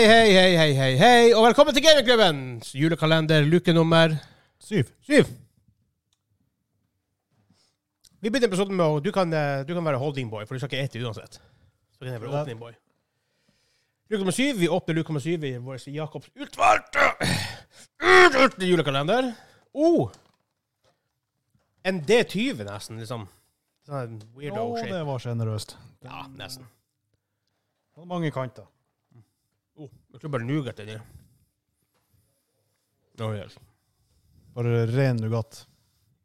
Hei, hei, hei, og velkommen til Gamingklubben! Julekalender, lukenummer Syv. syv. Vi begynner episoden med å du kan, eh, du kan være holding boy, for du skal ikke ete uansett. Så kan jeg være Ja. åpning boy. Luke nummer syv. Vi åpner luke nummer syv i vår Jakobs utvalgte utvalgte julekalender. Oh! En D20, nesten, liksom. Sånn weirdo Å, shape. det var sjenerøst. Ja, nesten. Det var Mange kanter. Oh, jeg tror bare nougat er det. Oh, yes. Bare ren nougat.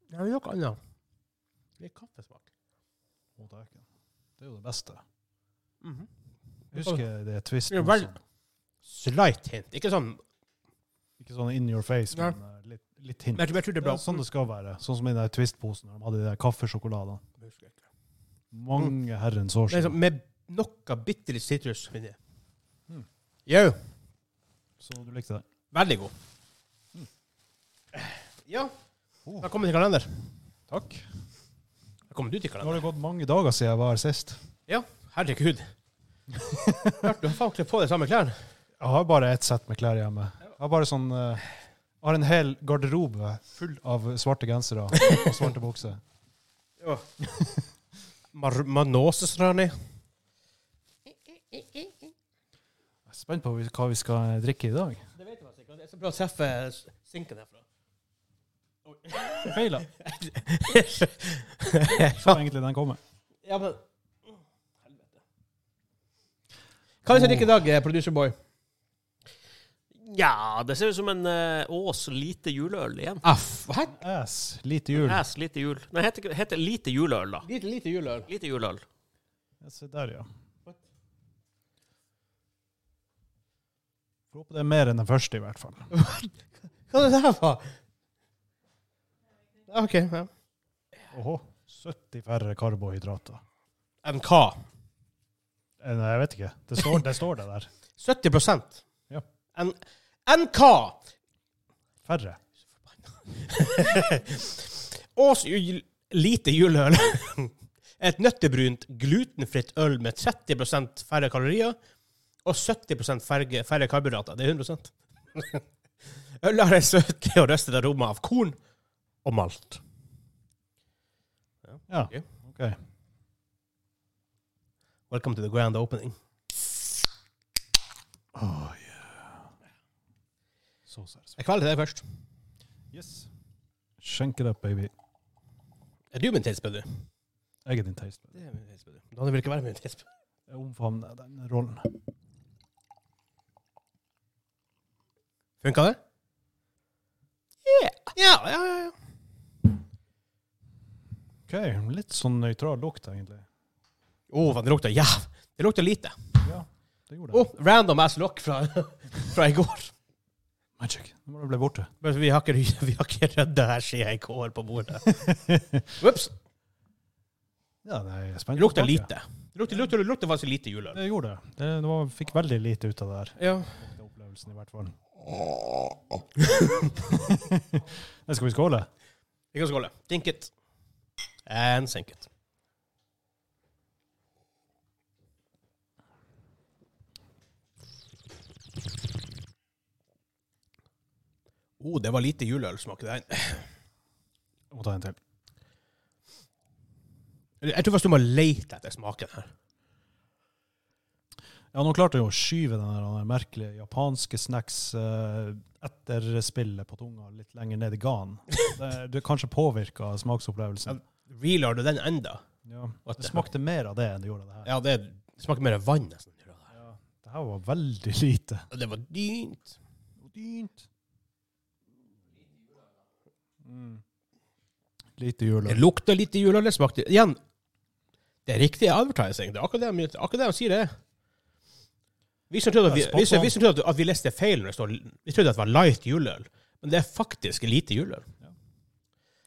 Ja, det er noe annet. Det er kaffesmak. Å, dæken. Det er jo det beste. Mhm. Husker det twisten. Ja, vel. som- Slight hint. Ikke sånn Ikke sånn in your face, Ja. men eh, litt, litt hint. Men jeg tror- jeg tror det er bra. sånn det skal være. Sånn som i den der Twist-posen, når de hadde de der kaffesjokoladene. Jeg husker ikke. Mange herrens år Det er sånn siden. med noe bitte litt sitrus inni. Mm. Jau. Så du likte det? Veldig god. Ja. Oh. Velkommen til kalender. Takk. Velkommen du til Nå har kalender. det gått mange dager siden jeg var her sist. Ja. Herregud. Klart du har faen kledd på deg samme klærne. Jeg har bare ett sett med klær hjemme. Jeg har bare sånn eh, jeg har en hel garderobe full av svarte gensere og svarte bukser. Ja. Mar Manåsesrani. Jeg er spent på hva vi skal drikke i dag. Det vet jeg sikkert. Det er så bra å treffe sinken herfra. Feila. Så Ah. egentlig den kommer. Ja, men Helvete. Hva vil du drikke i dag, eh, producer boy? Ja, det ser ut som en eh, Ås lite juleøl igjen. Aff, hæ? Ass. Lite jul. Æs lite jul. Nei, heter, ikke- heter lite juleøl, da. Lite, lite juleøl. Lite juleøl. Ja, Se der, ja. Får håpe det er mer enn den første, i hvert fall. Hva er det der for? OK. ja. Åhå. 70 færre karbohydrater. En hva? Eh, Nei, jeg vet ikke. Det står det, står det der. 70 Ja. En, en hva? Færre. Ås jul- lite juleøl. Et nøttebrunt, glutenfritt øl med 30 færre kalorier og 70 færre, færre karbohydrater. Det er 100 Ølet har en søtlig og røstet aroma av korn og malt. Ja. Ok. OK. Welcome to the grand opening. Oh, yeah. Så seriøst. Jeg kveler deg først. Yes. Skjenke det, baby. Er du min tidsbødder? Jeg er din taste. Det er min tidsbødder. Da vil jeg ikke være min tidsbødder. Jeg omfavner den rollen. Funka det? Ja, ja, ja. ja. OK. Litt sånn nøytral lukt, egentlig. Å, faen, det lukter jæv. Det lukter lite. Ja, det gjorde det. Oh, random ass lock fra, fra i går. Magic. Nå må det bli borte. Men vi har ikke, vi har ikke rydda her siden i går på bordet. Ups. Ja, nei, jeg er spent. Det lukter tilbake. lite. Det lukter, lukter, lukter faktisk lite juleøl. Det gjorde det. Det, det var, fikk veldig lite ut av det her. Ja. Den opplevelsen i hvert fall. Men skal vi skåle? Vi kan skåle. Dink it. And sink it. Oh, det var lite juleølsmak. i den. Jeg må ta en til. Jeg tror faktisk du må lete etter smaken her. Ja, nå klarte jeg å skyve den der, den der merkelige japanske snacks eh, etter spillet på tunga litt lenger ned i ganen. Det, det kanskje påvirka Ja. smaksopplevelsen. Reeler du den enda? Ja. Det smakte mer av det enn det gjorde av det her. Ja, det smaker mer vann nesten. Ja. Det her var veldig lite. Det var dynt. Dynt. Mm. Lite juleøl. Det lukta litt i juleøl. Det smakte Igjen, det er riktig advertising. Det er akkurat det de, akkurat det de sier det er. Vi som trodde, at vi, Det er spot vi, som- on. vi som trodde at vi leste feil når det står Vi trodde at det var light juleøl, men det er faktisk lite juleøl.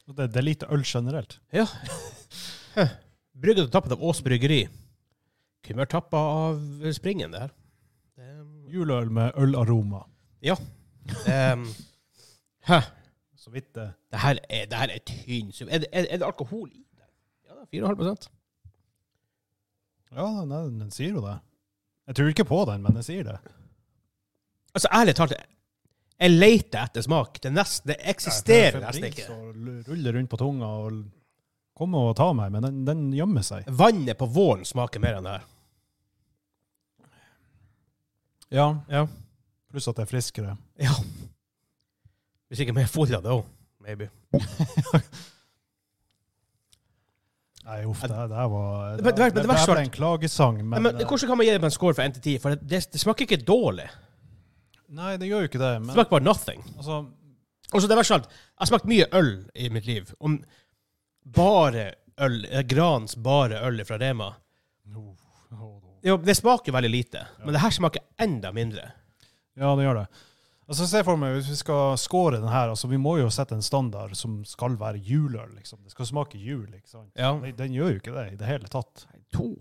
Det, det er lite øl generelt. Ja. Hæ. Brygget og tappet av Ås Bryggeri. Kunne vært tappa av springen, det her. Det er- Juleøl med ølaroma. Det er- Hæ. Så vidt det. Det her er, det her er tynn suppe. Er, det- er, er det alkohol i det? Ja, det er 4,5 Ja, nei, den sier jo det. Jeg tror ikke på den, men den sier det. Altså, ærlig talt, jeg leter etter smak. Det, nesten, det eksisterer nesten ikke. Så ruller rundt på tunga og kommer og tar meg, men den, den gjemmer seg. Vannet på våren smaker mer enn det her. Ja, Ja. pluss at det er friskere. ja. Hvis ikke mer full av det òg, maybe. Nei, uff, det, det her var Men det verste- men det det verste her var- ble en klagesang, Men, eh, men, men, hvordan kan man gi dem en score fra 1 til 10? For det, det, det smaker ikke dårlig. eh, Nei, det gjør jo ikke det. Det Men smaker bare nothing. altså, Og så det verste av alt, jeg har smakt mye øl i mitt liv. Om bare øl, eh, Grans bare øl fra Rema. Jo, det smaker veldig lite, men det her smaker enda mindre. Ja, det gjør det. Altså, Se for meg, hvis vi skal score den her, altså, vi må jo sette en standard som skal være juleøl. liksom. Det skal smake jul. ikke sant? Ja. Nei, Den gjør jo ikke det i det hele tatt. To.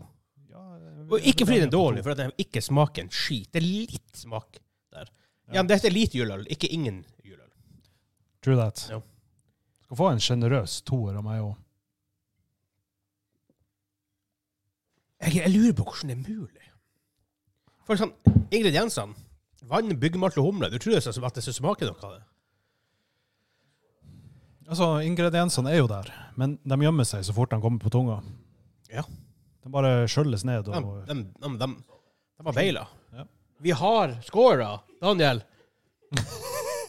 Ja, eh, Og ikke fordi den er dårlig, for for at den ikke smaker en skit. Det er litt smak der. Ja, men dette er lite juleøl, ikke ingen juleøl. True that. Ja. Skal få en sjenerøs toer av meg òg. Jeg, jeg lurer på hvordan det er mulig. For eksempel, ingrediensene. Vann, byggemalt og humle. Du tror det er som at det skal smake noe av det. Altså, ingrediensene er jo der, men de gjemmer seg så fort de kommer på tunga. Ja. De bare skjølles ned og De, de, de, de, de var beila. Ja. Vi har scora, Daniel.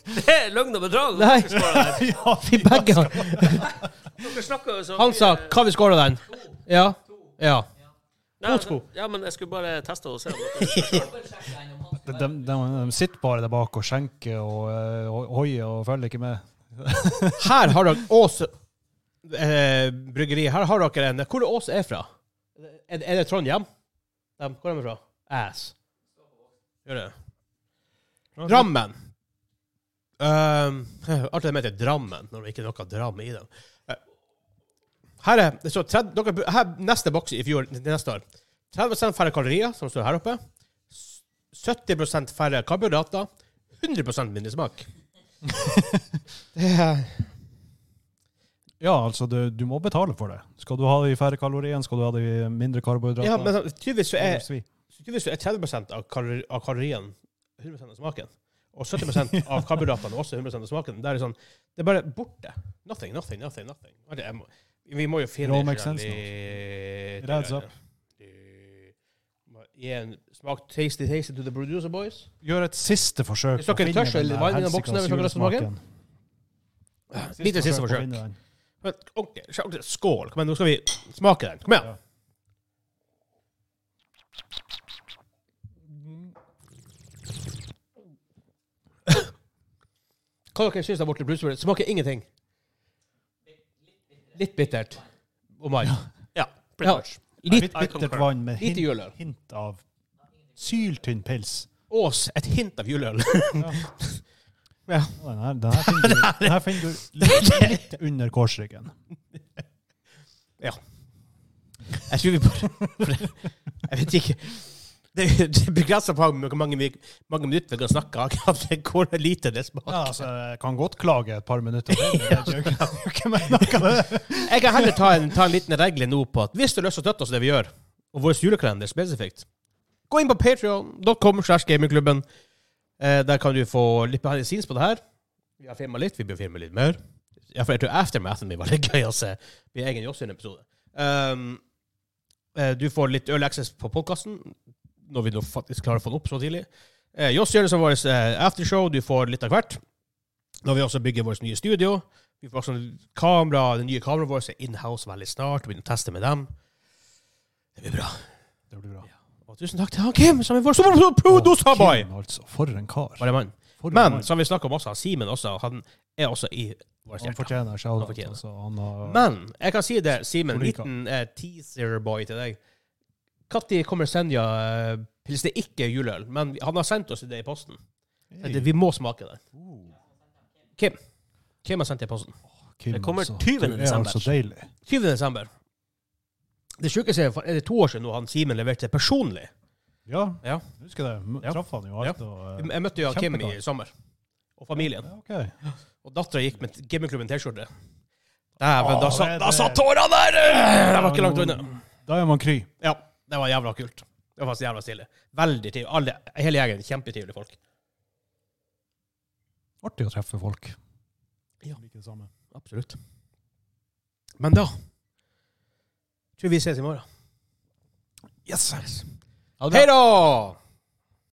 Det er løgn og bedrag! Nei. Ja, Vi begge har Dere snakker jo så Han sa mye- hva vi scora den. Ja. Ja. Nei, mot to. Ja, men jeg skulle bare teste og se. om dere- de, de, de, de sitter bare der bak og skjenker og eh, ho- hoier og følger ikke med. Her har dere Ås eh, bryggeri. Her har dere en Hvor er Ås er fra? Er, er det Trondheim? De, hvor er de fra? Ass. Gjør det. Altså- Drammen. Um, artig de heter Drammen, når det ikke er noe dram i dem. Eh, Her er så 30, dere, her, neste boks i fjor, til neste år. 30 færre kalorier, som står her oppe. S- 70 færre karbohydrater. 100 mindre smak. det er Ja, altså, du, du må betale for det. Skal du ha de færre kaloriene, skal du ha de mindre karbohydrater? Ja, men eh, tydeligvis så er, Svi. tydeligvis så er 30 av, kalori, av kalorien 100 av smaken. Og 70 av karbohydratene er også 100 av smaken. Det er sånn, det er bare borte. Nothing, nothing, nothing. nothing. Vent, jeg må, vi må jo It finne all makes sense litt- It adds up. Må Gi en smak tasty tasty to the producer boys. Gjør et siste forsøk. Hvis dere på å er finne tørst, eller der vann i den helsikes boksen, hvis dere har lyst til å smake. julesmaken. Lite siste på å forsøk. finne den. Men, ok, skål. Kom igjen, nå skal vi smake den. Kom igjen. Hva dere syns der borte i Bluesbird? Smaker ingenting. Litt bittert. Og meg. Ja, pretty Ja, much. litt I Bittert concur. vann med Lite hint, juleøl. hint av syltynn pils. Ås, et hint av juleøl. Den her, den her finner du, den her finner du litt, litt under korsryggen. Jeg tror vi bare for Jeg vet ikke. Det det er begrensa på hvor mange, vi- mange minutter vi kan snakke akkurat det, hvor lite det smaker. Ja, altså, jeg kan godt klage et par minutter. til, men det er jo ikke- det er jo ikke meg noe av det. Jeg kan heller ta en, ta en liten regle nå på at hvis du har lyst til å støtte oss i det vi gjør, og vår julekalender spesifikt, gå inn på patreon.com slash gamingklubben. Eh, der kan du få litt behind the scenes på det her. Vi har filma litt, vi bør filme litt mer. Ja, for jeg tror aftermathen min var litt gøy å se. Min egen Jåssund-episode. Um, eh, du får litt early access på podkasten, når vi nå faktisk klarer å få den opp så tidlig. Eh, Joss gjør det som vår eh, aftershow. Du får litt av hvert. Når vi også bygger vårt nye studio. Vi får også kamera, Det nye kameraet vårt er inhouse veldig snart. og Begynner å teste med dem. Det blir bra. Det blir bra. Og tusen takk til han Kim, som er vår superproducer-boy! Kim, altså, for en kar. Bare mann. For en Men mann. som vi snakker om også, han Simen også, han er også i vårt han hjerte. fortjener Han shout-out. fortjener. Altså, han har Men jeg kan si det, Simen, Hvor liker liten eh, teaser-boy til deg. Når kommer Senja eh, Pils? Det er ikke juleøl, men vi- han har sendt oss det i posten. Det- Vi må smake det. Kim. Kim har sendt det i posten. Kim, Det kommer altså. 20. Du desember. Er altså deilig. 20. desember. Det sjukeste er er det to år siden nå han Simen leverte personlig. Ja, Ja. husker det. M- Ja. Traff han jo alt. Og, eh, Jeg møtte jo han Kim i Kjempegodt. sommer. Og familien. ja, ok. Og dattera gikk med gamingklubben T-skjorte. Dæven, da, Åh, sa- det- da det- satt tårene der! Det var ikke langt unna. Da er man kry. Ja, det var jævla kult. Det var faktisk jævla stilig. Veldig trivelig. Alle- Hele gjengen. Kjempetrivelige folk. Artig å treffe folk. Ja. Liker det samme. Absolutt. Men da tror jeg vi ses i morgen. Yes! Hei da!